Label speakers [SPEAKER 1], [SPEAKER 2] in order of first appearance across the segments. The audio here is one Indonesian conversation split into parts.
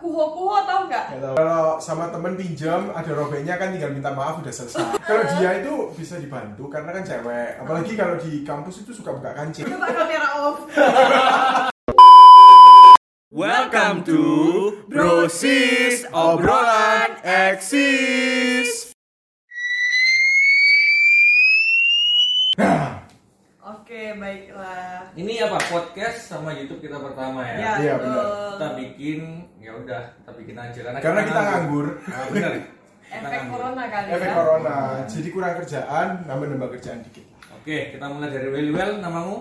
[SPEAKER 1] kuho-kuho tau nggak?
[SPEAKER 2] Nggak tahu. Kalau sama temen pinjam ada robeknya kan tinggal minta maaf udah selesai. kalau dia itu bisa dibantu karena kan cewek. Apalagi kalau di kampus itu suka buka kancing.
[SPEAKER 1] Coba kamera off.
[SPEAKER 3] Welcome to Brosis Obrolan Eksis.
[SPEAKER 1] Oke, baiklah.
[SPEAKER 4] Ini apa podcast sama YouTube kita pertama ya?
[SPEAKER 1] Ya,
[SPEAKER 2] Iya,
[SPEAKER 1] betul.
[SPEAKER 4] Kita bikin ya udah, kita bikin aja karena,
[SPEAKER 2] Karena kita nganggur.
[SPEAKER 4] Nah, bener. Kita
[SPEAKER 1] Efek
[SPEAKER 4] nganggur.
[SPEAKER 1] corona kali
[SPEAKER 2] Efek
[SPEAKER 1] ya.
[SPEAKER 2] corona. Jadi kurang kerjaan, nambah-nambah kerjaan dikit.
[SPEAKER 4] Oke, kita mulai dari Welly Well namamu.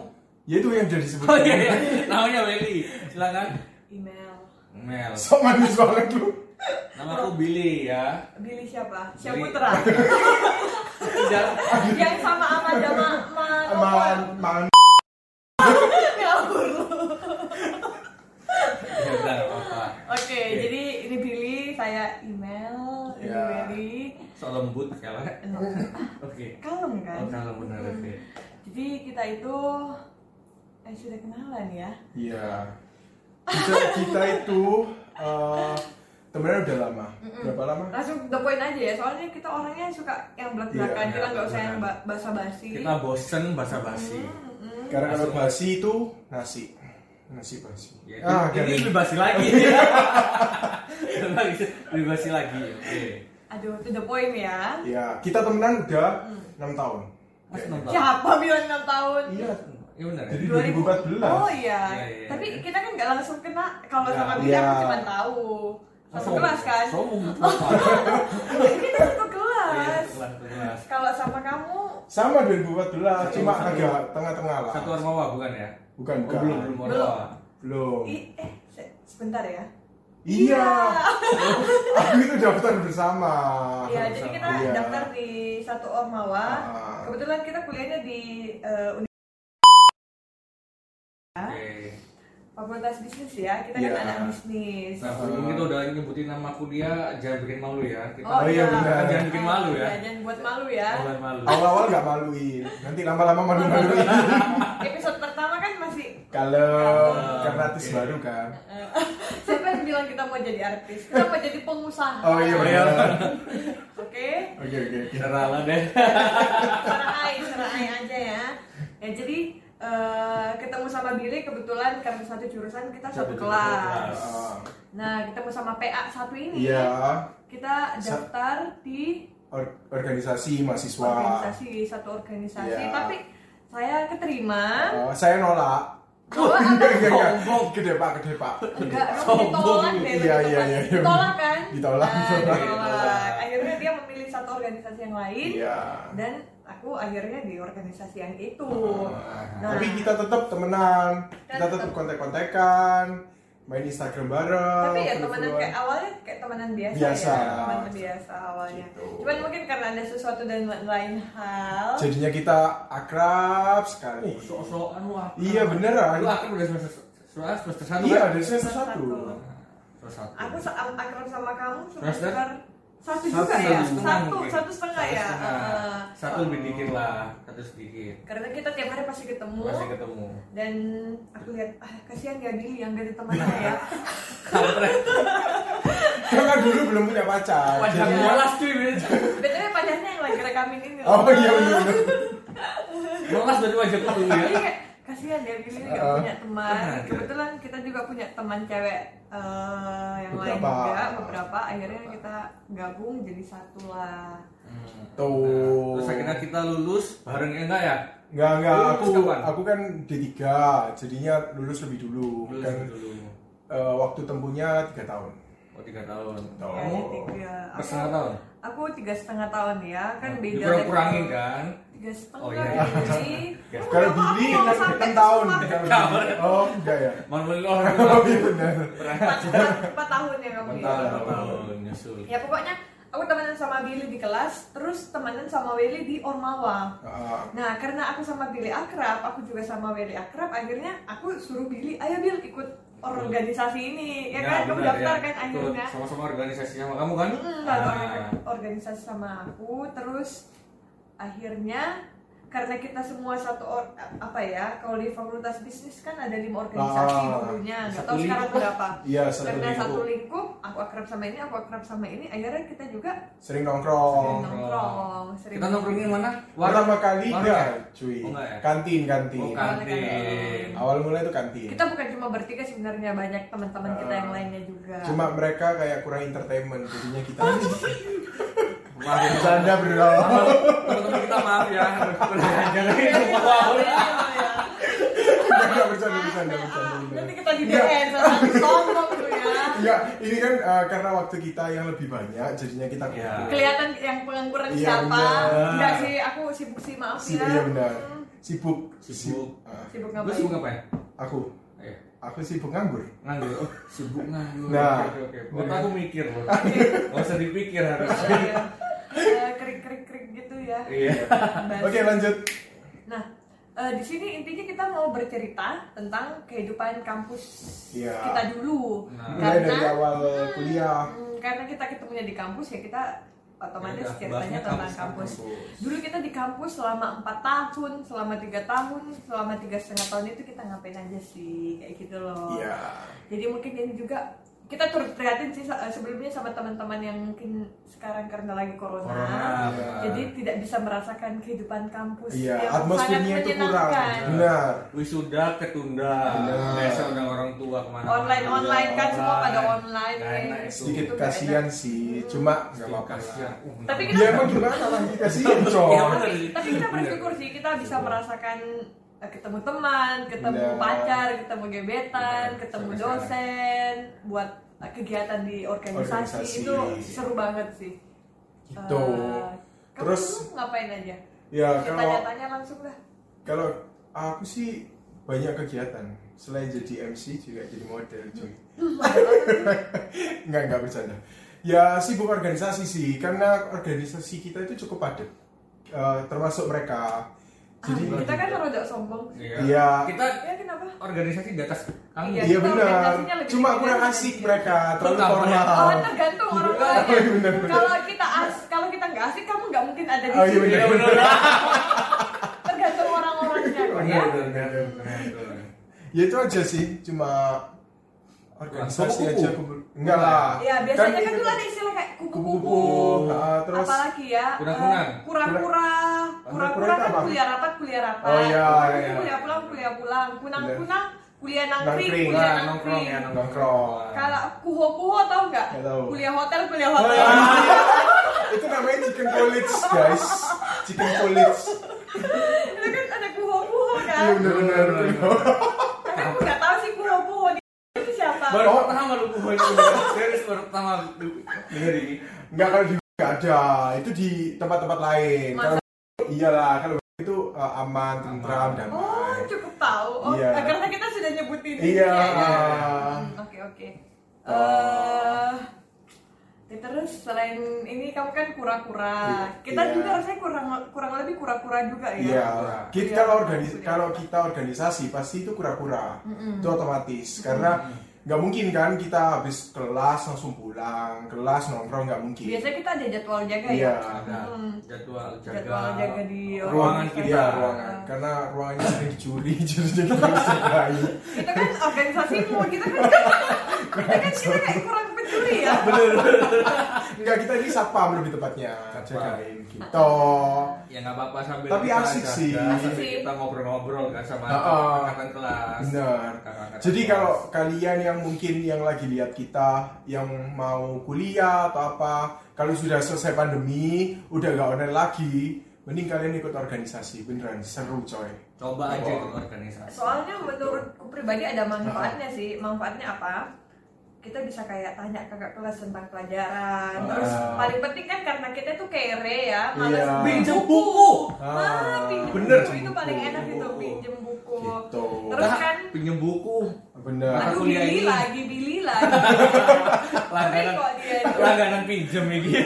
[SPEAKER 2] Ya itu yang udah disebut.
[SPEAKER 4] Oh iya, iya. namanya Welly. Silakan.
[SPEAKER 1] Email.
[SPEAKER 4] Mel.
[SPEAKER 2] Sok manis banget lu.
[SPEAKER 4] Nama aku Billy ya.
[SPEAKER 1] Billy siapa?
[SPEAKER 4] Billy.
[SPEAKER 1] Syaputra.
[SPEAKER 4] Jangan
[SPEAKER 1] Yang sama Amanda Ma Ma
[SPEAKER 2] Malan, malan.
[SPEAKER 1] Ngawur lu.
[SPEAKER 4] ya udah nggak apa-apa.
[SPEAKER 1] Oke, jadi ini Billy, saya email, ini
[SPEAKER 2] Ya.
[SPEAKER 1] Billy.
[SPEAKER 4] Soal lembut kalau. Oke.
[SPEAKER 1] Kalem kan?
[SPEAKER 4] Oh, kalau benar oke.
[SPEAKER 1] Jadi kita itu eh sudah kenalan ya.
[SPEAKER 2] Iya. Kita, kita itu eh, temennya udah lama. Berapa lama?
[SPEAKER 1] Langsung the point aja ya, soalnya kita orangnya suka yang belak-belakan,
[SPEAKER 4] Iya,
[SPEAKER 1] kita
[SPEAKER 4] iya,
[SPEAKER 1] nggak usah yang
[SPEAKER 4] belak-belakan.
[SPEAKER 1] ba- basa-basi.
[SPEAKER 4] Kita bosen basa-basi.
[SPEAKER 2] Karena kalau basi itu nasi. Nasi basi.
[SPEAKER 4] Ya,
[SPEAKER 2] ah,
[SPEAKER 4] ini- ini
[SPEAKER 2] garing.
[SPEAKER 4] lebih basi lagi. lebih basi lagi. Oke.
[SPEAKER 1] Aduh, to the point ya.
[SPEAKER 2] Ya, kita temenan udah 6 tahun.
[SPEAKER 4] Mas nonton.
[SPEAKER 1] Siapa bilang 6 tahun?
[SPEAKER 2] Iya.
[SPEAKER 4] Iya benar. ya?
[SPEAKER 2] Jadi
[SPEAKER 1] 2000
[SPEAKER 2] 2014.
[SPEAKER 1] Oh iya.
[SPEAKER 4] Iya, iya,
[SPEAKER 1] Tapi
[SPEAKER 4] iya.
[SPEAKER 1] kita kan nggak langsung kena kalau
[SPEAKER 4] Iya.
[SPEAKER 1] sama dia aku
[SPEAKER 2] Iya.
[SPEAKER 1] cuma tahu. Satu
[SPEAKER 4] Sombong.
[SPEAKER 1] kelas kan?
[SPEAKER 4] Sombong.
[SPEAKER 1] kita satu
[SPEAKER 4] Iya,
[SPEAKER 1] kelas.
[SPEAKER 4] Oh, kelas kelas.
[SPEAKER 1] Kalau sama kamu
[SPEAKER 2] Sama 2014, cuma
[SPEAKER 4] Satu-
[SPEAKER 2] agak tengah-tengah lah.
[SPEAKER 4] Satu armawa bukan ya?
[SPEAKER 2] Bukan,
[SPEAKER 4] Oh,
[SPEAKER 2] bukan.
[SPEAKER 4] belum belum armawa.
[SPEAKER 2] Belum.
[SPEAKER 1] i- eh se- sebentar ya.
[SPEAKER 2] Iya. Aku itu daftar bersama.
[SPEAKER 1] Iya, jadi kita
[SPEAKER 2] Iya.
[SPEAKER 1] daftar di satu Ormawa.
[SPEAKER 2] Ah.
[SPEAKER 1] Kebetulan kita kuliahnya di eh, Uni-
[SPEAKER 4] Oke.
[SPEAKER 1] Fakultas Bisnis ya. Kita
[SPEAKER 2] Iya.
[SPEAKER 1] kan anak bisnis.
[SPEAKER 4] Nah, sebelum kita udah nyebutin nama kuliah, jangan bikin malu ya. Kita
[SPEAKER 2] Oh, iya, benar. Iya. Oh,
[SPEAKER 4] Kita jangan bikin malu ya.
[SPEAKER 1] Iya, Jangan buat malu ya.
[SPEAKER 4] Jangan malu.
[SPEAKER 2] Awal-awal gak maluin, nanti lama-lama malu-maluin.
[SPEAKER 1] Iya. Episode pertama kan masih
[SPEAKER 2] Kalau
[SPEAKER 4] Kalem.
[SPEAKER 2] karena artis
[SPEAKER 4] Oke.
[SPEAKER 2] baru kan.
[SPEAKER 1] Eh, Siapa yang bilang kita mau jadi artis? Kita mau jadi pengusaha.
[SPEAKER 2] Oh iya benar.
[SPEAKER 1] Oke,
[SPEAKER 2] Oke oke. oke.
[SPEAKER 4] General deh.
[SPEAKER 1] serai, serai aja ya. Ya jadi eh, ketemu sama Billy kebetulan karena satu jurusan kita satu,
[SPEAKER 4] Satu jurusan,
[SPEAKER 1] kelas.
[SPEAKER 2] Ah,
[SPEAKER 1] Nah ketemu sama PA satu ini
[SPEAKER 2] Iya.
[SPEAKER 1] kita
[SPEAKER 2] Sa-
[SPEAKER 1] daftar di
[SPEAKER 2] Or- organisasi mahasiswa.
[SPEAKER 1] organisasi satu organisasi.
[SPEAKER 2] Iya.
[SPEAKER 1] Tapi saya keterima.
[SPEAKER 2] Eh, saya nolak. Iya,
[SPEAKER 1] Oh,
[SPEAKER 2] Enggak, enggak, enggak.
[SPEAKER 4] Sombong.
[SPEAKER 2] Gede pak, gede pak.
[SPEAKER 1] Enggak, kamu ditolak deh. tapi
[SPEAKER 2] Iya, iya,
[SPEAKER 1] ditolak.
[SPEAKER 2] iya, iya.
[SPEAKER 1] Ditolak kan?
[SPEAKER 2] Ditolak,
[SPEAKER 1] Nah,
[SPEAKER 2] ditolak.
[SPEAKER 1] ditolak. Akhirnya dia memilih satu organisasi yang lain.
[SPEAKER 2] Iya.
[SPEAKER 1] Dan aku akhirnya di organisasi yang itu. Nah.
[SPEAKER 2] Tapi kita tetap temenan, kita
[SPEAKER 1] tetap-
[SPEAKER 2] tetap kontak-kontakan, main Instagram bareng. gitu kan.
[SPEAKER 1] Tapi ya
[SPEAKER 2] perlu-perluan.
[SPEAKER 1] temenan kayak awalnya kayak temenan biasa,
[SPEAKER 2] Ah, Biasa.
[SPEAKER 1] ya. Temenan biasa awalnya.
[SPEAKER 2] Gitu.
[SPEAKER 1] Cuman mungkin karena ada sesuatu dan lain hal.
[SPEAKER 2] Jadinya kita akrab
[SPEAKER 4] Oh,
[SPEAKER 2] sekali.
[SPEAKER 4] So-soan wah.
[SPEAKER 2] Iya, beneran.
[SPEAKER 4] Lu akhir udah semester semester semester satu
[SPEAKER 2] Iya,
[SPEAKER 4] kan?
[SPEAKER 2] dari semester satu.
[SPEAKER 4] Semester satu.
[SPEAKER 1] Aku sa- am- akrab sama kamu
[SPEAKER 4] Terus,
[SPEAKER 1] semester
[SPEAKER 4] dan?
[SPEAKER 1] satu juga ya. Satu,
[SPEAKER 4] mungkin.
[SPEAKER 1] satu setengah ya.
[SPEAKER 4] Satu setengah.
[SPEAKER 1] Heeh.
[SPEAKER 4] Satu lebih dikit lah, satu sedikit.
[SPEAKER 1] Karena kita tiap hari pasti ketemu.
[SPEAKER 4] Masih ketemu.
[SPEAKER 1] dan aku lihat ah kasihan ya Billy yang dari temannya ya
[SPEAKER 4] Kampret.
[SPEAKER 2] Karena Kan, dulu belum punya pacar.
[SPEAKER 4] Wajah
[SPEAKER 2] Jadi-
[SPEAKER 4] molas cuy. bener.
[SPEAKER 1] betulnya pacarnya yang lagi rekamin ini
[SPEAKER 2] Oh iya benar.
[SPEAKER 4] Molas dari wajah lu ya.
[SPEAKER 1] jadi kayak kasihan ya Billy nggak
[SPEAKER 2] Heeh.
[SPEAKER 1] punya teman
[SPEAKER 4] Tenang aja.
[SPEAKER 1] kebetulan kita juga punya teman cewek eh, yang lain
[SPEAKER 2] Beberapa.
[SPEAKER 1] juga beberapa akhirnya kita gabung jadi satu lah
[SPEAKER 4] Hmm.
[SPEAKER 2] Tuh.
[SPEAKER 4] Terus akhirnya kita lulus bareng ya enggak ya?
[SPEAKER 2] Enggak enggak
[SPEAKER 4] Lulus
[SPEAKER 2] aku
[SPEAKER 4] kapan?
[SPEAKER 2] aku kan D3, jadinya lulus lebih dulu.
[SPEAKER 4] Lulus
[SPEAKER 2] kan
[SPEAKER 4] dulu.
[SPEAKER 2] eh, waktu tempuhnya 3 tahun.
[SPEAKER 4] Oh tiga tahun.
[SPEAKER 2] Tahun.
[SPEAKER 1] ya, jadi tiga
[SPEAKER 4] Per setengah tahun. Oh,
[SPEAKER 1] aku tiga setengah tahun ya kan beda
[SPEAKER 4] Dikurang-kurangin kan.
[SPEAKER 1] tiga setengah ya,
[SPEAKER 4] Oh, iya.
[SPEAKER 1] Billy
[SPEAKER 4] Tiga
[SPEAKER 2] Kalau
[SPEAKER 1] Kamu
[SPEAKER 2] Billy
[SPEAKER 1] mau
[SPEAKER 2] kan
[SPEAKER 1] sampai
[SPEAKER 2] 6 tahun.
[SPEAKER 1] semua-
[SPEAKER 4] Tahun.
[SPEAKER 2] Oh, enggak ya.
[SPEAKER 4] Manuel orang
[SPEAKER 2] Oh iya benar.
[SPEAKER 1] empat empat- empat tahun ya kamu ya
[SPEAKER 4] Bentar, tahun nyusul.
[SPEAKER 1] ya pokoknya aku temenan sama Billy di kelas terus temenan sama Willy di Ormawa
[SPEAKER 2] Ah,
[SPEAKER 1] nah karena aku sama Billy akrab aku juga sama Willy akrab akhirnya aku suruh Billy ayo Bill ikut organisasi ini ya, kan kamu
[SPEAKER 4] benar,
[SPEAKER 1] daftar
[SPEAKER 4] ya.
[SPEAKER 1] kan
[SPEAKER 4] Ikut
[SPEAKER 1] akhirnya
[SPEAKER 4] Sama-sama organisasi sama kamu kan?
[SPEAKER 1] Hmm,
[SPEAKER 4] Ah.
[SPEAKER 1] daftar ikut organisasi sama aku terus akhirnya karena kita semua satu or- apa ya kalau di fakultas bisnis kan ada lima organisasi
[SPEAKER 2] Ah,
[SPEAKER 1] dulunya nggak
[SPEAKER 4] satu
[SPEAKER 1] tahu sekarang
[SPEAKER 4] lingkup.
[SPEAKER 1] berapa
[SPEAKER 2] Iya, satu
[SPEAKER 1] karena satu
[SPEAKER 2] lingkup.
[SPEAKER 1] lingkup aku akrab sama ini aku akrab sama ini akhirnya kita juga
[SPEAKER 2] Sering nongkrong.
[SPEAKER 1] sering nongkrong sering
[SPEAKER 4] Ah, Kita nongkrongnya mana?
[SPEAKER 2] Pertama kali
[SPEAKER 4] Warung
[SPEAKER 2] enggak,
[SPEAKER 4] ya?
[SPEAKER 2] cuy. Kan
[SPEAKER 4] Oh, enggak ya?
[SPEAKER 2] Kantin, kantin.
[SPEAKER 4] Oh, kantin.
[SPEAKER 2] Awal mulai itu kantin.
[SPEAKER 1] kita bukan cuma bertiga sebenarnya banyak teman-teman kita yang
[SPEAKER 2] Iya. Ah.
[SPEAKER 1] lainnya juga
[SPEAKER 2] Cuma mereka kayak kurang entertainment jadinya kita.
[SPEAKER 4] Maaf ya.
[SPEAKER 2] Bercanda bro.
[SPEAKER 4] Maaf, Teman-teman kita maaf ya. Jangan
[SPEAKER 2] Iya,
[SPEAKER 4] itu wow.
[SPEAKER 2] Enggak bercanda, bercanda, bercanda. Iya.
[SPEAKER 1] nanti
[SPEAKER 2] bener.
[SPEAKER 1] Ah, kita di DM sama sombong tuh ya
[SPEAKER 2] Enggak, ini kan eh, karena waktu kita yang lebih banyak jadinya kita
[SPEAKER 4] Iya.
[SPEAKER 2] kumpul.
[SPEAKER 1] kelihatan yang pengangguran
[SPEAKER 2] Iya,
[SPEAKER 1] siapa
[SPEAKER 2] bener.
[SPEAKER 1] enggak sih aku sibuk sih maaf
[SPEAKER 2] Si,
[SPEAKER 1] ya
[SPEAKER 2] iya benar.
[SPEAKER 1] Hmm,
[SPEAKER 2] Sibuk.
[SPEAKER 4] Sibuk.
[SPEAKER 2] Sib- ah,
[SPEAKER 1] sibuk
[SPEAKER 4] Lu
[SPEAKER 1] ngapain
[SPEAKER 4] sibuk ngapain?
[SPEAKER 2] aku.
[SPEAKER 4] Eh,
[SPEAKER 2] Aku sibuk nganggur.
[SPEAKER 4] Nganggur. Oh, sibuk nganggur.
[SPEAKER 2] Nah.
[SPEAKER 4] Oke, oke. oke. Otak aku mikir loh. Enggak usah dipikir harus.
[SPEAKER 1] Iya. Eh, kerik-kerik-kerik gitu ya
[SPEAKER 4] Iya.
[SPEAKER 1] Bahas-
[SPEAKER 2] Oke, lanjut.
[SPEAKER 1] Nah, eh, di sini intinya kita mau bercerita tentang kehidupan kampus
[SPEAKER 2] Iya.
[SPEAKER 1] kita dulu.
[SPEAKER 4] Nah.
[SPEAKER 2] Mulai dari awal kuliah.
[SPEAKER 1] Hmm, karena kita ketemunya di kampus ya kita otomatis
[SPEAKER 4] Ya udah,
[SPEAKER 1] ceritanya
[SPEAKER 4] bahasnya
[SPEAKER 1] tentang
[SPEAKER 4] kampus,
[SPEAKER 1] kampus.
[SPEAKER 2] Iya, kampus.
[SPEAKER 1] Dulu kita di kampus selama 4 tahun, selama tiga tahun, selama tiga setengah tahun itu kita ngapain aja sih kayak gitu loh.
[SPEAKER 2] Iya.
[SPEAKER 1] Jadi mungkin ini juga kita turut prihatin sih eh, sebelumnya sama teman-teman yang mungkin sekarang karena lagi
[SPEAKER 4] Corona.
[SPEAKER 1] jadi tidak bisa merasakan kehidupan kampus
[SPEAKER 2] Iya,
[SPEAKER 1] yang
[SPEAKER 2] atmosfernya
[SPEAKER 1] sangat
[SPEAKER 2] itu kurang.
[SPEAKER 1] menyenangkan.
[SPEAKER 2] Benar.
[SPEAKER 4] Wisuda ketunda.
[SPEAKER 2] Benar.
[SPEAKER 4] Biasa undang orang tua kemana.
[SPEAKER 1] online online kan semua pada online
[SPEAKER 4] Nggak
[SPEAKER 1] nih.
[SPEAKER 4] enak nah, itu.
[SPEAKER 2] Sedikit
[SPEAKER 1] Itu nggak
[SPEAKER 2] kasihan
[SPEAKER 1] enak.
[SPEAKER 2] sih, cuma nggak
[SPEAKER 4] Sedikit
[SPEAKER 2] apa-apa.
[SPEAKER 4] kasihan.
[SPEAKER 2] lah.
[SPEAKER 1] Tapi
[SPEAKER 2] Ya emang gimana lah dikasihin,
[SPEAKER 4] Iya,
[SPEAKER 2] coy.
[SPEAKER 4] bener.
[SPEAKER 1] tapi, tapi kita
[SPEAKER 4] Bener.
[SPEAKER 1] bersyukur sih kita bisa merasakan eh, ketemu teman ketemu
[SPEAKER 2] Bener.
[SPEAKER 1] pacar ketemu gebetan
[SPEAKER 2] Iya,
[SPEAKER 4] Bener,
[SPEAKER 1] ketemu
[SPEAKER 4] sampai
[SPEAKER 1] dosen buat eh, kegiatan di organisasi,
[SPEAKER 2] Organisasi.
[SPEAKER 1] itu seru banget sih
[SPEAKER 2] Gitu.
[SPEAKER 1] Eh, kamu
[SPEAKER 2] Terus-
[SPEAKER 1] dulu ngapain aja
[SPEAKER 2] Ya kalau
[SPEAKER 1] Iya, tanya-tanya langsung lah
[SPEAKER 2] kalau aku sih banyak kegiatan. Selain jadi MC juga jadi model, coy. Nggak, nggak bercanda. Ya sibuk organisasi sih, karena organisasi kita itu cukup padat. Eh, termasuk mereka. Jadi
[SPEAKER 1] Ah, kita kan rada sombong
[SPEAKER 4] Iya.
[SPEAKER 2] Iya.
[SPEAKER 4] Kita
[SPEAKER 1] ya kenapa
[SPEAKER 4] organisasi di atas kamu.
[SPEAKER 1] Iya,
[SPEAKER 2] Iya
[SPEAKER 1] kita
[SPEAKER 2] benar.
[SPEAKER 1] organisasinya lebih
[SPEAKER 2] Cuma kurang
[SPEAKER 1] ringan
[SPEAKER 2] asik
[SPEAKER 1] sih.
[SPEAKER 2] mereka, terlalu
[SPEAKER 4] Nggak boleh.
[SPEAKER 2] formal.
[SPEAKER 1] Oh, tergantung orang
[SPEAKER 2] Oh, Ah. iya,
[SPEAKER 1] lain.
[SPEAKER 2] benar, benar.
[SPEAKER 1] Kalau kita as, kalau kita nggak asik, kamu nggak mungkin ada di
[SPEAKER 2] Oh, iya,
[SPEAKER 1] sini.
[SPEAKER 2] benar.
[SPEAKER 1] Tergantung orang-orangnya kok
[SPEAKER 2] Iya.
[SPEAKER 1] ya.
[SPEAKER 4] Benar, benar, benar, benar, benar.
[SPEAKER 2] Ya itu aja sih, cuma organisasi
[SPEAKER 4] Kupu-kupu.
[SPEAKER 2] aja kumpul. Enggak lah.
[SPEAKER 1] Ya biasanya kan
[SPEAKER 2] kita-
[SPEAKER 1] dulu ada istilah kayak kupu-kupu.
[SPEAKER 2] kupu-kupu. Ah, terus
[SPEAKER 1] Apalagi ya?
[SPEAKER 4] Kurang-kurang.
[SPEAKER 1] eh, Kurang-kura. Kurang-kura
[SPEAKER 2] Kurang-kura itu
[SPEAKER 1] kan
[SPEAKER 2] apa?
[SPEAKER 1] kuliah rapat, kuliah rapat.
[SPEAKER 2] Oh, iya,
[SPEAKER 1] Kupu-kupu
[SPEAKER 2] iya.
[SPEAKER 1] Kuliah pulang, kuliah pulang. Kunang-kunang, kuliah nangkring,
[SPEAKER 2] Nangkring.
[SPEAKER 1] kuliah
[SPEAKER 4] Nah, nongkrong
[SPEAKER 1] nangkring.
[SPEAKER 4] ya, nongkrong.
[SPEAKER 2] Ah, Nongkrong.
[SPEAKER 1] Kalau kuho-kuho tau nggak?
[SPEAKER 2] Nggak tahu. Ah.
[SPEAKER 1] Kuliah hotel, kuliah hotel.
[SPEAKER 2] Wah, itu namanya chicken college, guys. Chicken college.
[SPEAKER 1] Itu kan ada kuho-kuho kan.
[SPEAKER 2] Iya benar-benar.
[SPEAKER 1] Tapi aku nggak tahu sih kuho-kuho di- itu siapa.
[SPEAKER 4] Baru pertama lu gue ini. Serius baru pertama lu- denger ini.
[SPEAKER 2] Enggak kalau di enggak ada. Itu di tempat-tempat lain.
[SPEAKER 1] Masa?
[SPEAKER 2] Kalau iyalah, kalau itu eh, aman, tentram,
[SPEAKER 4] Aman.
[SPEAKER 2] damai.
[SPEAKER 1] Oh, cukup tahu. Oh,
[SPEAKER 2] Iya.
[SPEAKER 1] karena kita sudah nyebutin.
[SPEAKER 2] Iya.
[SPEAKER 1] Ya, ya. Hmm, Oke, oke. Eh, ya terus selain ini kamu kan kura-kura. Kita
[SPEAKER 2] Iya.
[SPEAKER 1] juga rasanya kurang kurang lebih kura-kura juga ya.
[SPEAKER 2] Iya, kita
[SPEAKER 1] Iya.
[SPEAKER 2] kalau organis kalau kita organisasi pasti itu kura-kura, itu otomatis karena nggak mungkin kan kita habis kelas langsung pulang, kelas nongkrong nggak mungkin.
[SPEAKER 1] Biasanya kita ada jadwal jaga
[SPEAKER 2] Iya.
[SPEAKER 1] ya.
[SPEAKER 4] Ada
[SPEAKER 1] Hmm.
[SPEAKER 4] jadwal jaga.
[SPEAKER 1] Jadwal jaga di
[SPEAKER 4] ruangan
[SPEAKER 1] organisasi.
[SPEAKER 4] kita.
[SPEAKER 2] Iya, ruangan, karena ruangannya sering dicuri, jadinya kita disediain.
[SPEAKER 1] Itu kan organisasimu, kita kan kita kan kita kayak kurang peduli ya.
[SPEAKER 2] Nggak kita ini satpam lebih tepatnya,
[SPEAKER 4] Satpam.
[SPEAKER 2] jagain gitu.
[SPEAKER 4] Ya nggak apa-apa sambil
[SPEAKER 2] Tapi
[SPEAKER 4] kita
[SPEAKER 2] asik
[SPEAKER 4] jaga,
[SPEAKER 2] sih.
[SPEAKER 4] sambil
[SPEAKER 1] Asik sih.
[SPEAKER 4] Kita ngobrol-ngobrol kan sama
[SPEAKER 2] Ah, ah.
[SPEAKER 4] angkatan kelas.
[SPEAKER 2] Benar.
[SPEAKER 4] Kakak-kakak
[SPEAKER 2] Jadi
[SPEAKER 4] kelas.
[SPEAKER 2] kalau kalian yang mungkin yang lagi lihat kita, yang mau kuliah atau apa, kalau sudah selesai pandemi, udah nggak online lagi, mending kalian ikut organisasi, beneran seru coy.
[SPEAKER 4] coba aja
[SPEAKER 2] Oh.
[SPEAKER 4] ikut organisasi.
[SPEAKER 1] Soalnya menurutku pribadi ada manfaatnya sih. Manfaatnya apa? Kita bisa kayak tanya kakak kelas tentang pelajaran. Terus
[SPEAKER 2] Ah.
[SPEAKER 1] paling penting kan karena kita tuh kere ya, males
[SPEAKER 2] Iya.
[SPEAKER 1] pinjem
[SPEAKER 4] Pinjem
[SPEAKER 1] buku.
[SPEAKER 2] buku.
[SPEAKER 1] Ah,
[SPEAKER 2] Ah,
[SPEAKER 1] pinjem
[SPEAKER 2] bener,
[SPEAKER 1] buku
[SPEAKER 2] pinjem
[SPEAKER 1] itu paling
[SPEAKER 2] buku.
[SPEAKER 1] enak itu pinjem buku.
[SPEAKER 2] Gitu.
[SPEAKER 1] Terus kan
[SPEAKER 4] pinjem buku.
[SPEAKER 2] Bener.
[SPEAKER 1] Aduh,
[SPEAKER 4] kuliah
[SPEAKER 1] Billy
[SPEAKER 4] ini.
[SPEAKER 1] lagi, Billy lagi. Tapi
[SPEAKER 4] Langganan.
[SPEAKER 1] kok dia itu.
[SPEAKER 4] Langganan pinjem ya gitu.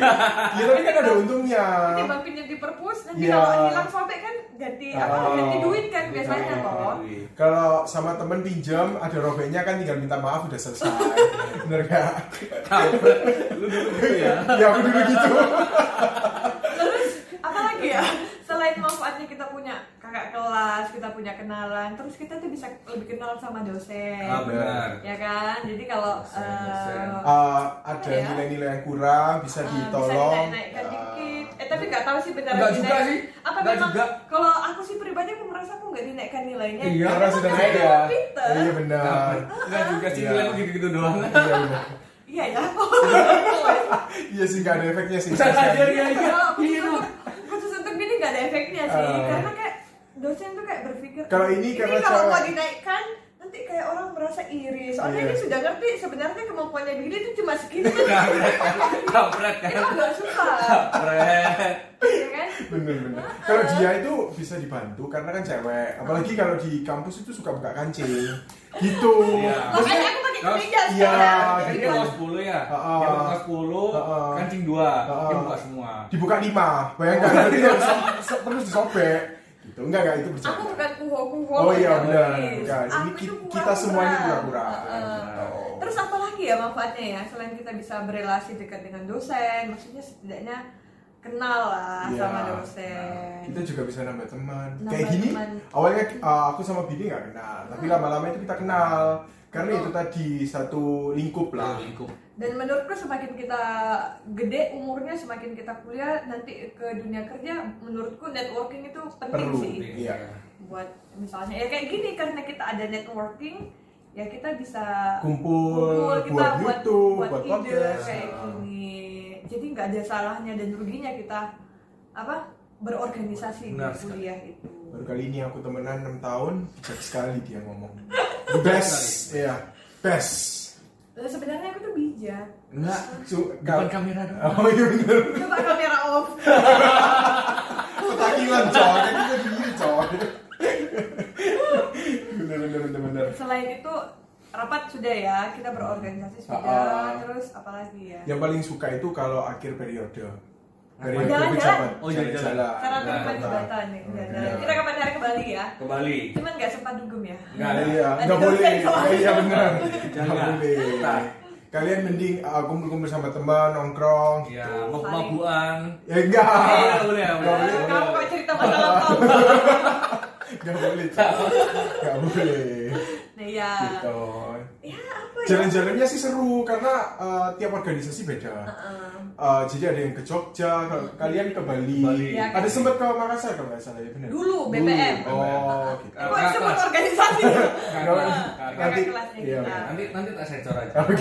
[SPEAKER 2] Iya tapi kan ada untungnya.
[SPEAKER 1] Tiba pinjam di perpus, nanti
[SPEAKER 2] Iya.
[SPEAKER 1] kalau hilang sobek kan ganti apa?
[SPEAKER 2] Ah. Iya.
[SPEAKER 1] Ganti duit kan biasanya toh.
[SPEAKER 2] Kalau sama temen pinjam ada robeknya kan tinggal minta maaf udah selesai. Bener gak?
[SPEAKER 4] Kampret.
[SPEAKER 1] Iya.
[SPEAKER 4] Lu dulu gitu ya.
[SPEAKER 2] ya aku dulu gitu.
[SPEAKER 4] Iya.
[SPEAKER 1] Terus apa lagi ya? Selain selain manfaatnya kita punya kakak kelas, kita punya kenalan, terus kita tuh bisa lebih kenal sama dosen.
[SPEAKER 4] Ah, benar.
[SPEAKER 1] Ya kan? Jadi kalau
[SPEAKER 4] Dosen, dosen.
[SPEAKER 1] eh,
[SPEAKER 2] Eh, ada
[SPEAKER 1] Iya.
[SPEAKER 2] nilai-nilai yang kurang bisa
[SPEAKER 1] eh,
[SPEAKER 2] ditolong
[SPEAKER 1] bisa dinaikkan
[SPEAKER 2] Eh,
[SPEAKER 1] dikit. Eh tapi nggak tahu sih benar
[SPEAKER 4] gitu Nggak
[SPEAKER 1] dinaik-
[SPEAKER 4] juga sih.
[SPEAKER 1] Apa
[SPEAKER 4] Nggak
[SPEAKER 1] memang
[SPEAKER 4] juga.
[SPEAKER 1] kalau aku sih pribadi aku merasa aku nggak dinaikkan nilainya.
[SPEAKER 4] Iya,
[SPEAKER 2] karena
[SPEAKER 1] Emang
[SPEAKER 2] sudah
[SPEAKER 1] karena
[SPEAKER 2] ada
[SPEAKER 1] aku pinter.
[SPEAKER 2] iya
[SPEAKER 4] Nah,
[SPEAKER 2] benar
[SPEAKER 4] Enggak juga sih,
[SPEAKER 2] Iya.
[SPEAKER 4] nilai gue gitu-gitu doang.
[SPEAKER 2] iya benar.
[SPEAKER 1] Iya ya.
[SPEAKER 2] iya sih nggak ada efeknya sih
[SPEAKER 4] Bisa aja
[SPEAKER 2] kasihan.
[SPEAKER 4] iya iya. Iya
[SPEAKER 1] Khusus untuk- Khusus untuk gini nggak ada efeknya sih,
[SPEAKER 2] Eh.
[SPEAKER 1] karena kayak dosen tuh kayak berpikir
[SPEAKER 2] Kalau ini karena
[SPEAKER 1] kalau
[SPEAKER 2] cewek."
[SPEAKER 1] mau dinaikkan nanti kayak orang merasa iri soalnya
[SPEAKER 2] Iya.
[SPEAKER 1] ini sudah ngerti sebenarnya kemampuannya diri itu cuma segini
[SPEAKER 4] Kampret kan.
[SPEAKER 1] itu agak susah
[SPEAKER 4] Kampret.
[SPEAKER 1] ya kan
[SPEAKER 2] bener-bener kalau dia itu bisa dibantu karena kan cewek apalagi kalau di kampus itu suka buka kancing gitu
[SPEAKER 4] Iya.
[SPEAKER 1] makanya aku pakai
[SPEAKER 4] Terus-
[SPEAKER 1] kemeja
[SPEAKER 2] iya,
[SPEAKER 1] sekarang
[SPEAKER 4] Jadi
[SPEAKER 1] gitu.
[SPEAKER 4] kan kelas 10 ya.
[SPEAKER 2] Heeh.
[SPEAKER 4] Yang kelas 10
[SPEAKER 2] Heeh.
[SPEAKER 4] kancing 2.
[SPEAKER 2] Heeh.
[SPEAKER 4] Dia buka semua.
[SPEAKER 2] dibuka lima bayangkan nanti harus se- terus disobek gitu enggak enggak itu
[SPEAKER 1] aku
[SPEAKER 2] bercanda
[SPEAKER 1] bukan kuho kuho
[SPEAKER 2] Oh iya, benar. Bukan.
[SPEAKER 1] Aku
[SPEAKER 2] Ini
[SPEAKER 1] itu
[SPEAKER 2] ki-
[SPEAKER 1] pura-pura.
[SPEAKER 2] kita semuanya pura-pura.
[SPEAKER 1] Heeh.
[SPEAKER 2] Oh.
[SPEAKER 1] terus apa lagi ya manfaatnya ya selain kita bisa berelasi dekat dengan dosen maksudnya setidaknya kenal lah
[SPEAKER 2] Iya.
[SPEAKER 1] sama dosen
[SPEAKER 2] kita juga bisa nambah teman
[SPEAKER 1] Nambah
[SPEAKER 2] kayak gini
[SPEAKER 1] teman. Hmm.
[SPEAKER 2] awalnya uh, aku sama Bini nggak kenal tapi lama-lama itu kita kenal karena
[SPEAKER 1] Oh.
[SPEAKER 2] itu tadi satu lingkup lah
[SPEAKER 4] Lingkup.
[SPEAKER 1] dan menurutku semakin kita gede umurnya semakin kita kuliah nanti ke dunia kerja menurutku networking itu penting
[SPEAKER 2] Perlu.
[SPEAKER 1] sih
[SPEAKER 2] Iya.
[SPEAKER 1] buat misalnya ya kayak gini karena kita ada networking ya kita bisa
[SPEAKER 2] kumpul buat YouTube buat,
[SPEAKER 1] ide
[SPEAKER 2] podcast Nah.
[SPEAKER 1] kayak gini jadi nggak ada salahnya dan ruginya kita apa berorganisasi
[SPEAKER 4] Benar
[SPEAKER 1] di
[SPEAKER 4] sekali.
[SPEAKER 1] kuliah itu
[SPEAKER 2] baru kali ini aku temenan 6 tahun bijak sekali dia ngomong The best ya best
[SPEAKER 1] Lalu Eh, sebenarnya aku tuh bijak
[SPEAKER 2] Nah.
[SPEAKER 4] Enggak.
[SPEAKER 2] Su-
[SPEAKER 4] Depan
[SPEAKER 2] kal-
[SPEAKER 4] kamera dong.
[SPEAKER 2] oh iya bener
[SPEAKER 1] coba kamera off
[SPEAKER 2] ketakilan coy Kayak gitu gini coy bener bener bener bener
[SPEAKER 1] selain itu rapat sudah ya kita berorganisasi sudah
[SPEAKER 2] Ah.
[SPEAKER 1] terus apalagi ya
[SPEAKER 2] yang paling suka itu kalau akhir periode periode
[SPEAKER 1] Jalan-jalan.
[SPEAKER 2] pejabat
[SPEAKER 4] Oh, jalan-jalan.
[SPEAKER 1] cara
[SPEAKER 4] Nah,
[SPEAKER 1] terima jabatan nih
[SPEAKER 2] Nah,
[SPEAKER 1] Nah,
[SPEAKER 2] iya.
[SPEAKER 1] kita kapan hari ke Bali ya
[SPEAKER 4] Ke Bali.
[SPEAKER 1] cuman nggak sempat dugem ya
[SPEAKER 4] Enggak ada.
[SPEAKER 2] iya
[SPEAKER 1] Ada
[SPEAKER 2] nggak boleh
[SPEAKER 1] dosen soalnya.
[SPEAKER 2] iya benar
[SPEAKER 4] Jangan.
[SPEAKER 2] nggak boleh
[SPEAKER 4] Nah.
[SPEAKER 2] kalian mending uh, kumpul-kumpul sama teman nongkrong Gitu.
[SPEAKER 4] Ya, mau kemabuan.
[SPEAKER 2] ya enggak
[SPEAKER 4] Iya, boleh, boleh.
[SPEAKER 1] Eh, kamu kok cerita masalah kau
[SPEAKER 2] nggak boleh coy. nggak boleh
[SPEAKER 1] nah ya
[SPEAKER 2] gitu
[SPEAKER 1] ya apa ya
[SPEAKER 2] jalan-jalannya sih seru karena uh, tiap organisasi beda
[SPEAKER 1] Heeh. Hmm.
[SPEAKER 2] Uh, jadi ada yang ke Jogja, ke- kalian ke Bali.
[SPEAKER 4] Bali.
[SPEAKER 1] Iya, kan.
[SPEAKER 2] Ada sempat ke Makassar kalau nggak salah ya benar.
[SPEAKER 1] Dulu, BPM.
[SPEAKER 2] Oh, gitu.
[SPEAKER 1] Kok disebut organisasi?
[SPEAKER 4] Kakak.
[SPEAKER 1] Kakak ya? Nah,
[SPEAKER 2] Nanti-
[SPEAKER 1] kelasnya
[SPEAKER 2] iya,
[SPEAKER 1] kita.
[SPEAKER 4] Nanti nanti tak sensor aja.
[SPEAKER 2] Oke.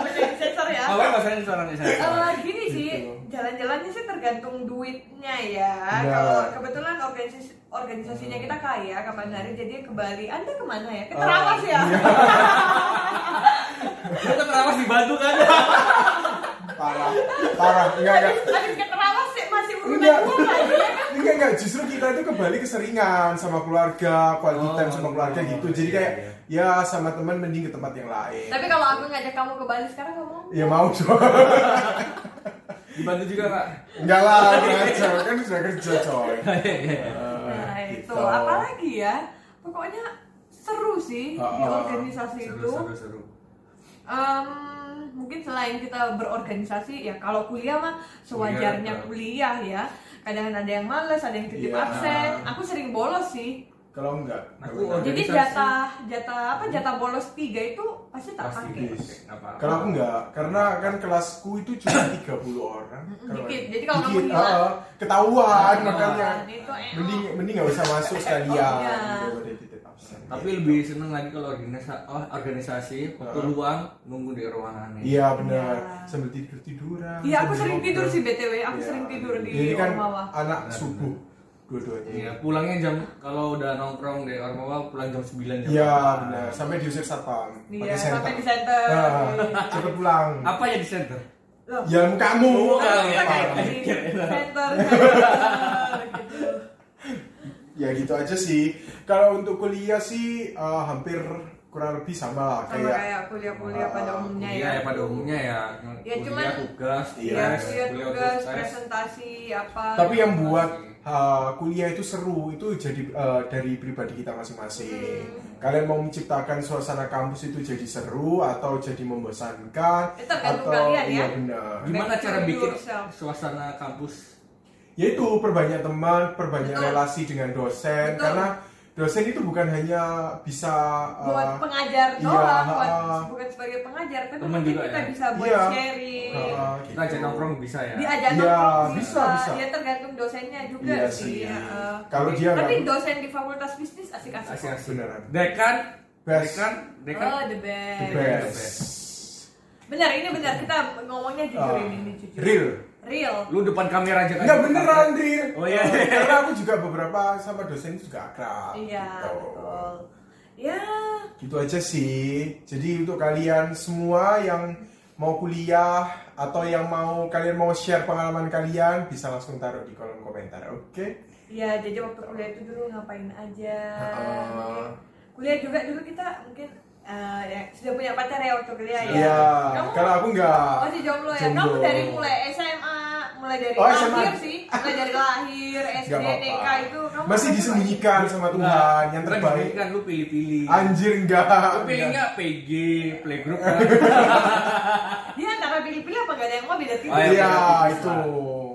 [SPEAKER 1] Oke, sensor ya.
[SPEAKER 4] Awalnya nggak sensor nanti sensor.
[SPEAKER 1] Eh, gini sih,
[SPEAKER 2] Gitu.
[SPEAKER 1] jalan-jalannya sih tergantung duitnya ya.
[SPEAKER 2] Benar.
[SPEAKER 1] Kalau kebetulan organisasi organisasinya kita kaya kapan hari jadi ke Bali. Anda kemana ya? Ke Terawas ya.
[SPEAKER 2] Oh, iya.
[SPEAKER 4] Kita terawas di Batu kan?
[SPEAKER 2] Parah, parah. Iya, Enggak, enggak.
[SPEAKER 1] Habis habis ke Terawas sih masih urunan
[SPEAKER 2] Enggak.
[SPEAKER 1] gua lagi.
[SPEAKER 2] Enggak, enggak. Iya, Justru kita itu ke Bali keseringan sama keluarga, quality
[SPEAKER 4] Oh,
[SPEAKER 2] time sama keluarga
[SPEAKER 4] iya,
[SPEAKER 2] gitu. Jadi
[SPEAKER 4] iya,
[SPEAKER 2] kayak ya sama teman mending ke tempat yang lain.
[SPEAKER 1] Tapi kalau aku ngajak kamu ke Bali sekarang ngomong
[SPEAKER 2] Ya mau dong.
[SPEAKER 4] Di Batu juga kak.
[SPEAKER 2] Enggak lah, kerja kan sudah kerja coy.
[SPEAKER 4] Iya,
[SPEAKER 1] Nah,
[SPEAKER 2] Eh,
[SPEAKER 1] itu
[SPEAKER 2] gitu.
[SPEAKER 1] apalagi ya? Pokoknya seru sih di
[SPEAKER 2] Ah, ah.
[SPEAKER 1] organisasi itu.
[SPEAKER 4] seru.
[SPEAKER 1] Em, mungkin selain kita berorganisasi ya kalau kuliah mah sewajarnya
[SPEAKER 4] Iya,
[SPEAKER 1] kuliah ya. Kadang ada yang males, ada yang titip
[SPEAKER 2] Iya.
[SPEAKER 1] absen. Aku sering bolos sih.
[SPEAKER 2] Kalau enggak, enggak
[SPEAKER 4] Aku
[SPEAKER 2] benar.
[SPEAKER 1] Jadi
[SPEAKER 4] Organisasi.
[SPEAKER 1] jatah jatah apa jatah bolos tiga itu pasti tak
[SPEAKER 4] Pasti
[SPEAKER 1] pakai.
[SPEAKER 4] guys. Apa?
[SPEAKER 2] Kalau aku enggak, karena kan kelasku itu cuma 30 orang. Kalau-
[SPEAKER 1] Dikit, jadi kalau kamu
[SPEAKER 2] Dikit,
[SPEAKER 1] hilang.
[SPEAKER 2] eh, ketahuan
[SPEAKER 4] Ketahuan.
[SPEAKER 2] makanya.
[SPEAKER 1] Nah, itu enak.
[SPEAKER 2] Mending mending enggak usah masuk sekalian
[SPEAKER 1] Iya.
[SPEAKER 2] daripada titip absen.
[SPEAKER 4] Tapi
[SPEAKER 2] Gitu.
[SPEAKER 4] lebih seneng lagi kalau organisasi, organisasi waktu
[SPEAKER 2] Heeh.
[SPEAKER 4] luang nunggu di ruangannya.
[SPEAKER 2] Iya benar,
[SPEAKER 1] Iya.
[SPEAKER 2] sambil tidur tiduran.
[SPEAKER 1] Iya aku sering tidur sih btw. Aku
[SPEAKER 2] Iya.
[SPEAKER 1] sering tidur
[SPEAKER 2] Jadi
[SPEAKER 1] di
[SPEAKER 2] kan
[SPEAKER 1] Ormawa.
[SPEAKER 2] anak
[SPEAKER 4] Benar,
[SPEAKER 2] subuh dua-duanya.
[SPEAKER 4] Iya, pulangnya jam kalau udah nongkrong di Ormawa pulang jam 9 jam.
[SPEAKER 2] Iya
[SPEAKER 4] 8.
[SPEAKER 2] benar, sampai diusir satpam.
[SPEAKER 1] Iya
[SPEAKER 2] pakai senter.
[SPEAKER 1] sampai di center.
[SPEAKER 2] Nah, cepet pulang.
[SPEAKER 4] Apa ya di center?
[SPEAKER 1] Loh,
[SPEAKER 2] Ya kamu.
[SPEAKER 4] Kamu kan,
[SPEAKER 1] Kita kayak gitu.
[SPEAKER 2] Parah.
[SPEAKER 1] di center, center, gitu.
[SPEAKER 2] ya gitu aja sih kalau untuk kuliah sih eh, hampir kurang lebih sama lah
[SPEAKER 1] Sama
[SPEAKER 2] kayak
[SPEAKER 1] kayak kuliah-kuliah pada umumnya
[SPEAKER 4] Iya
[SPEAKER 1] ya.
[SPEAKER 4] ya pada umumnya ya.
[SPEAKER 1] Ya,
[SPEAKER 4] Kuliah,
[SPEAKER 1] cuman-
[SPEAKER 4] tugas,
[SPEAKER 2] Iya,
[SPEAKER 1] Iya,
[SPEAKER 4] tes,
[SPEAKER 1] kuliah
[SPEAKER 4] kuliah,
[SPEAKER 1] tugas,
[SPEAKER 4] tes.
[SPEAKER 1] presentasi apa. ya,
[SPEAKER 2] tapi yang buat eh, kuliah itu seru itu jadi eh, dari pribadi kita masing-masing
[SPEAKER 1] Hmm.
[SPEAKER 2] kalian mau menciptakan suasana kampus itu jadi seru atau jadi membosankan
[SPEAKER 1] Itu tergantung
[SPEAKER 2] atau
[SPEAKER 1] kalian ya.
[SPEAKER 2] iya benar
[SPEAKER 4] Gimana
[SPEAKER 1] Back to
[SPEAKER 4] cara bikin
[SPEAKER 1] yourself.
[SPEAKER 4] suasana kampus
[SPEAKER 2] yaitu Ya perbanyak teman perbanyak
[SPEAKER 1] Betul.
[SPEAKER 2] relasi dengan dosen
[SPEAKER 1] Betul.
[SPEAKER 2] karena dosen itu bukan hanya bisa uh,
[SPEAKER 1] buat pengajar
[SPEAKER 2] iya,
[SPEAKER 1] doang, buat,
[SPEAKER 2] ha-ha.
[SPEAKER 1] bukan sebagai pengajar, tapi
[SPEAKER 4] Temen
[SPEAKER 1] mungkin
[SPEAKER 4] juga
[SPEAKER 1] kita
[SPEAKER 4] ya?
[SPEAKER 1] bisa buat
[SPEAKER 2] Iya.
[SPEAKER 1] sharing,
[SPEAKER 2] uh,
[SPEAKER 4] Kita aja
[SPEAKER 2] gitu.
[SPEAKER 4] nongkrong bisa ya.
[SPEAKER 1] diajak
[SPEAKER 2] Iya,
[SPEAKER 1] nongkrong
[SPEAKER 2] bisa, bisa.
[SPEAKER 1] ya tergantung dosennya juga
[SPEAKER 2] iya
[SPEAKER 1] sih.
[SPEAKER 2] sih
[SPEAKER 1] ya, eh.
[SPEAKER 2] kalau dia
[SPEAKER 1] tapi
[SPEAKER 2] nggak
[SPEAKER 1] dosen di fakultas bisnis asik-asik.
[SPEAKER 4] Asik asik.
[SPEAKER 2] Beneran.
[SPEAKER 4] Dekan,
[SPEAKER 2] Best.
[SPEAKER 4] dekan, dekan.
[SPEAKER 1] Oh, the best.
[SPEAKER 2] the best
[SPEAKER 1] Benar, ini benar. Kita ngomongnya jujur
[SPEAKER 2] Ah,
[SPEAKER 1] ini, ini jujur.
[SPEAKER 2] real
[SPEAKER 1] Real.
[SPEAKER 4] Lu depan kamera aja kan.
[SPEAKER 2] Enggak beneran real
[SPEAKER 4] Oh, iya.
[SPEAKER 2] Uh, karena aku juga beberapa sama dosen itu juga akrab
[SPEAKER 1] Iya,
[SPEAKER 2] gitu.
[SPEAKER 1] betul. Ya,
[SPEAKER 2] gitu aja sih jadi untuk kalian semua yang mau kuliah atau yang mau kalian mau share pengalaman kalian bisa langsung taruh di kolom komentar oke
[SPEAKER 1] ya jadi waktu kuliah itu dulu ngapain aja.
[SPEAKER 2] Heeh.
[SPEAKER 1] Kuliah juga dulu kita mungkin eh, ya, sudah punya pacar ya waktu kuliah ya.
[SPEAKER 2] Iya, kalau aku enggak.
[SPEAKER 1] masih jomblo ya. Kamu
[SPEAKER 2] Jomblo.
[SPEAKER 1] dari mulai SMA, mulai dari
[SPEAKER 2] Oh, SMA.
[SPEAKER 1] lahir sih, mulai dari lahir, SD,
[SPEAKER 2] Nggak apa-apa.
[SPEAKER 1] TK itu kamu ya?
[SPEAKER 2] masih
[SPEAKER 1] mulai-
[SPEAKER 2] disembunyikan sama Tuhan yang terbaik
[SPEAKER 4] Kan lu pilih-pilih.
[SPEAKER 2] anjir enggak
[SPEAKER 4] Lu
[SPEAKER 2] enggak. Iya,
[SPEAKER 4] pilihnya PG, playgroup kan.
[SPEAKER 1] Dia antara pilih-pilih apa gak ada yang mau beda
[SPEAKER 4] Oh,
[SPEAKER 1] tipis.
[SPEAKER 4] iya.
[SPEAKER 2] iya
[SPEAKER 4] Pilih-pilih.
[SPEAKER 2] itu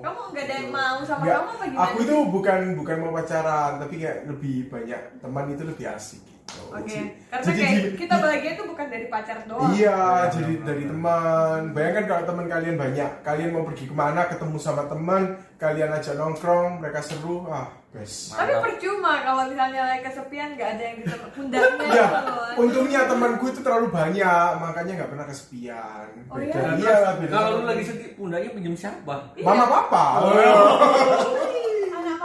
[SPEAKER 1] Kamu gak ada yang mau sama
[SPEAKER 2] Nggak,
[SPEAKER 1] kamu apa gimana?
[SPEAKER 2] aku itu bukan bukan mau pacaran tapi kayak lebih banyak teman itu lebih asik gitu
[SPEAKER 1] Oke,
[SPEAKER 2] Jadi-
[SPEAKER 1] karena
[SPEAKER 2] jadi
[SPEAKER 1] kayak
[SPEAKER 2] di-
[SPEAKER 1] kita bahagia itu bukan dari pacar doang.
[SPEAKER 2] Iya,
[SPEAKER 4] Benar,
[SPEAKER 2] jadi
[SPEAKER 4] benar,
[SPEAKER 2] dari
[SPEAKER 4] benar.
[SPEAKER 2] teman. Bayangkan kalau teman kalian banyak, kalian mau pergi kemana, ketemu sama teman, kalian ajak nongkrong, mereka seru, ah, guys.
[SPEAKER 1] Tapi
[SPEAKER 4] Mantap.
[SPEAKER 1] percuma kalau misalnya lagi kesepian gak ada yang di tem- pundaknya
[SPEAKER 2] Ya,
[SPEAKER 1] gitu loh.
[SPEAKER 2] untungnya temanku itu terlalu banyak, makanya nggak pernah kesepian.
[SPEAKER 1] Oh,
[SPEAKER 2] Beda-
[SPEAKER 1] iya?
[SPEAKER 2] Iya, lah, beda
[SPEAKER 4] Nah, Kalau lu
[SPEAKER 2] teman.
[SPEAKER 4] lagi sedih, Oh, pundaknya pinjem siapa?
[SPEAKER 1] Iya.
[SPEAKER 2] Mama papa.
[SPEAKER 1] Anak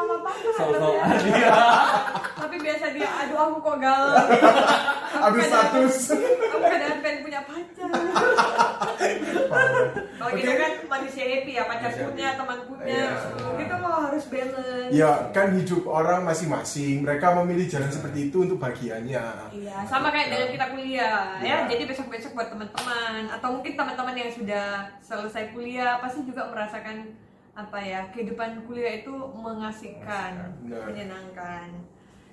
[SPEAKER 1] mama papa
[SPEAKER 4] Sosok
[SPEAKER 1] kan, tapi-
[SPEAKER 4] dia.
[SPEAKER 1] Tapi biasa dia, aduh aku kok galau.
[SPEAKER 2] Aduh,
[SPEAKER 1] kadang-
[SPEAKER 2] status.
[SPEAKER 1] Aku kadang pengen punya pacar. Kalau kita
[SPEAKER 2] Oke.
[SPEAKER 1] kan manusia happy ya, pacar
[SPEAKER 4] Manusia
[SPEAKER 1] punya, teman punya.
[SPEAKER 2] Iya.
[SPEAKER 1] Gitu loh harus balance.
[SPEAKER 2] Ya, kan hidup orang masing-masing. Mereka memilih jalan seperti itu untuk bagiannya.
[SPEAKER 1] Iya, sama kayak dengan kita kuliah
[SPEAKER 2] Iya.
[SPEAKER 1] ya. Jadi besok-besok buat teman-teman atau mungkin teman-teman yang sudah selesai kuliah pasti juga merasakan apa ya kehidupan kuliah itu mengasihkan,
[SPEAKER 2] Mengasihkan, benar.
[SPEAKER 1] menyenangkan.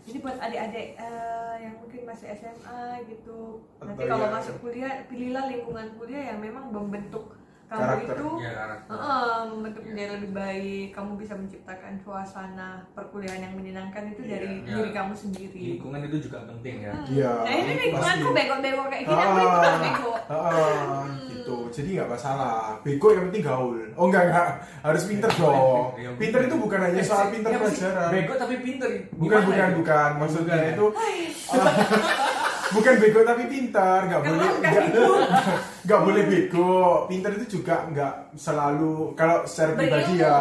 [SPEAKER 1] Jadi buat adik-adik eh, yang mungkin masih SMA gitu, nanti
[SPEAKER 2] Atau
[SPEAKER 1] kalau
[SPEAKER 2] ya-
[SPEAKER 1] masuk kuliah pilihlah lingkungan kuliah yang memang membentuk kamu
[SPEAKER 2] Karakter.
[SPEAKER 1] itu
[SPEAKER 4] Ya, karakter. Iya.
[SPEAKER 1] Heeh, membentuk menjadi lebih baik. Kamu bisa menciptakan suasana perkuliahan yang menyenangkan itu dari
[SPEAKER 4] Iya.
[SPEAKER 1] diri kamu sendiri.
[SPEAKER 4] Lingkungan itu juga penting ya.
[SPEAKER 2] Iya.
[SPEAKER 1] Nah ini nih
[SPEAKER 2] pasti.
[SPEAKER 1] aku bego-bego kayak gini, aku
[SPEAKER 2] Ah,
[SPEAKER 1] ikutan bego. Hmm.
[SPEAKER 2] ah, gitu. Jadi nggak masalah. Bego yang penting gaul. Oh enggak enggak, harus pinter dong.
[SPEAKER 4] Iya, iya.
[SPEAKER 2] Pinter itu bukan hanya soal pinter
[SPEAKER 4] Iya, pasti.
[SPEAKER 2] pelajaran.
[SPEAKER 4] Bego tapi pinter.
[SPEAKER 2] Bukan
[SPEAKER 4] Gimana
[SPEAKER 2] bukan
[SPEAKER 4] itu?
[SPEAKER 2] bukan. Maksudnya
[SPEAKER 4] Bukan.
[SPEAKER 2] itu ah, bukan bego tapi pintar. Nggak
[SPEAKER 1] Kalau
[SPEAKER 2] boleh
[SPEAKER 1] nggak
[SPEAKER 2] nggak- nggak boleh bego. Pinter itu juga nggak selalu kalau secara pribadi
[SPEAKER 1] Berilmu.
[SPEAKER 2] ya.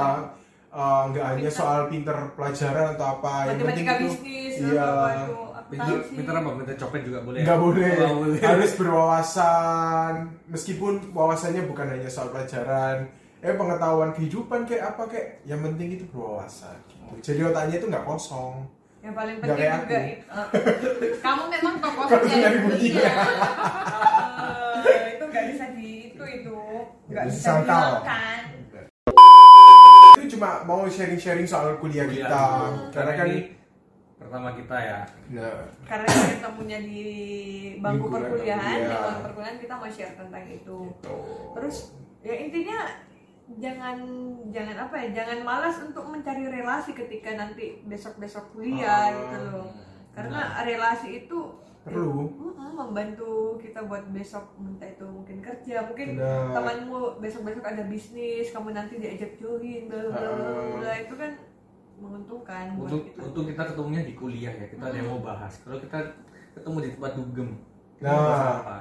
[SPEAKER 2] eh, nggak hanya soal pinter pelajaran atau apa yang penting
[SPEAKER 1] Matematika
[SPEAKER 2] itu
[SPEAKER 1] bisnis,
[SPEAKER 2] iya
[SPEAKER 1] apa itu,
[SPEAKER 4] Pinter,
[SPEAKER 1] akuntansi.
[SPEAKER 4] pinter apa? Pinter copet juga boleh. ya?
[SPEAKER 2] nggak boleh.
[SPEAKER 4] Nggak boleh. Iya.
[SPEAKER 2] harus berwawasan meskipun wawasannya bukan hanya soal pelajaran eh pengetahuan kehidupan kayak apa kayak yang penting itu berwawasan gitu. jadi otaknya itu nggak kosong
[SPEAKER 1] Yang paling
[SPEAKER 2] Nggak
[SPEAKER 1] penting
[SPEAKER 2] kayak
[SPEAKER 1] juga
[SPEAKER 2] aku.
[SPEAKER 1] itu. eh, kamu memang tokoh
[SPEAKER 2] Kalau
[SPEAKER 1] sosial
[SPEAKER 2] dari bunyinya.
[SPEAKER 1] dunia. Eh, itu nggak bisa di itu itu nggak bisa
[SPEAKER 2] Disangkal.
[SPEAKER 1] dihilangkan.
[SPEAKER 2] itu cuma mau sharing-sharing soal kuliah
[SPEAKER 4] Kuliah
[SPEAKER 2] kita
[SPEAKER 4] dulu.
[SPEAKER 2] karena kan
[SPEAKER 4] ini pertama kita ya.
[SPEAKER 2] nah,
[SPEAKER 1] Karena kita ketemunya di bangku
[SPEAKER 2] Lingkungan
[SPEAKER 1] perkuliahan, di
[SPEAKER 2] perkuliahan.
[SPEAKER 1] bangku perkuliahan kita mau share tentang itu.
[SPEAKER 2] gitu.
[SPEAKER 1] terus ya intinya jangan jangan apa ya jangan malas untuk mencari relasi ketika nanti besok besok kuliah
[SPEAKER 2] Ah,
[SPEAKER 1] gitu loh karena relasi itu
[SPEAKER 2] perlu
[SPEAKER 1] mm-mm, membantu kita buat besok entah itu mungkin kerja mungkin
[SPEAKER 2] Benar.
[SPEAKER 1] temanmu besok besok ada bisnis kamu nanti diajak join bla bla bla, bla
[SPEAKER 2] Ah.
[SPEAKER 1] bla. itu kan menguntungkan buat
[SPEAKER 4] Untuk
[SPEAKER 1] kita
[SPEAKER 4] untuk kita ketemunya di kuliah ya. Kita ada yang mau bahas. Kalau kita ketemu di tempat dugem. kita
[SPEAKER 2] Nah.
[SPEAKER 4] bahas apa?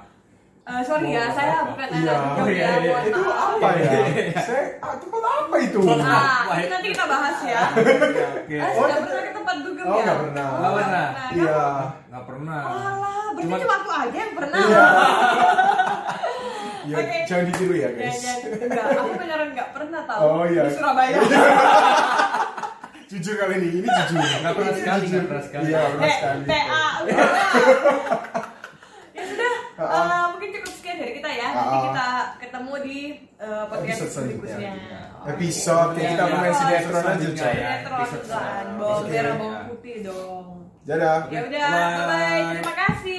[SPEAKER 1] Eh, sorry ya
[SPEAKER 4] Oh,
[SPEAKER 1] saya
[SPEAKER 4] apa?
[SPEAKER 1] bukan
[SPEAKER 2] Iya.
[SPEAKER 1] anak
[SPEAKER 4] Oh, iya, iya.
[SPEAKER 1] mohon
[SPEAKER 2] itu
[SPEAKER 1] maaf.
[SPEAKER 2] apa ya saya ah, tempat apa itu
[SPEAKER 4] Tempat apa?
[SPEAKER 1] Nah, ini nanti kita bahas ya.
[SPEAKER 4] Oke, oke.
[SPEAKER 1] Ah,
[SPEAKER 2] Oh,
[SPEAKER 1] sudah pernah ke tempat dugem
[SPEAKER 2] oh,
[SPEAKER 1] ya?
[SPEAKER 2] nggak pernah.
[SPEAKER 1] nggak
[SPEAKER 4] Nggak pernah.
[SPEAKER 1] Kamu-
[SPEAKER 2] iya
[SPEAKER 4] Nggak pernah.
[SPEAKER 1] Alah, berarti cuma,
[SPEAKER 4] Cuma-
[SPEAKER 1] aku aja yang pernah.
[SPEAKER 2] iya Ya,
[SPEAKER 1] Oke. Iya,
[SPEAKER 2] jangan ditiru ya
[SPEAKER 1] Dan,
[SPEAKER 2] guys
[SPEAKER 1] dan, enggak, aku beneran enggak pernah tahu
[SPEAKER 2] Oh, iya.
[SPEAKER 1] di Surabaya.
[SPEAKER 2] jujur kali ini ini jujur
[SPEAKER 4] Nggak pernah sekali, nggak pernah sekali.
[SPEAKER 2] iya nggak pernah
[SPEAKER 1] Eh,
[SPEAKER 2] sekali
[SPEAKER 1] TA. udah. ya sudah,
[SPEAKER 2] Ah,
[SPEAKER 1] eh, mungkin cukup sekian dari kita ya. Nanti
[SPEAKER 2] Ah.
[SPEAKER 1] kita ketemu di eh, podcast
[SPEAKER 2] Episode selanjutnya.
[SPEAKER 1] berikutnya.
[SPEAKER 2] Episode kayak kita
[SPEAKER 1] Iya,
[SPEAKER 2] main
[SPEAKER 1] iya.
[SPEAKER 2] sinetron aja
[SPEAKER 4] Sinetron
[SPEAKER 2] coy.
[SPEAKER 4] ya.
[SPEAKER 1] Sinetron,
[SPEAKER 4] Episode
[SPEAKER 1] bukan.
[SPEAKER 4] selanjutnya.
[SPEAKER 1] Bawang
[SPEAKER 2] Oke.
[SPEAKER 1] merah, bawang putih dong.
[SPEAKER 2] Dadah.
[SPEAKER 1] Ya udah,
[SPEAKER 4] Bye.
[SPEAKER 1] bye-bye. Terima kasih.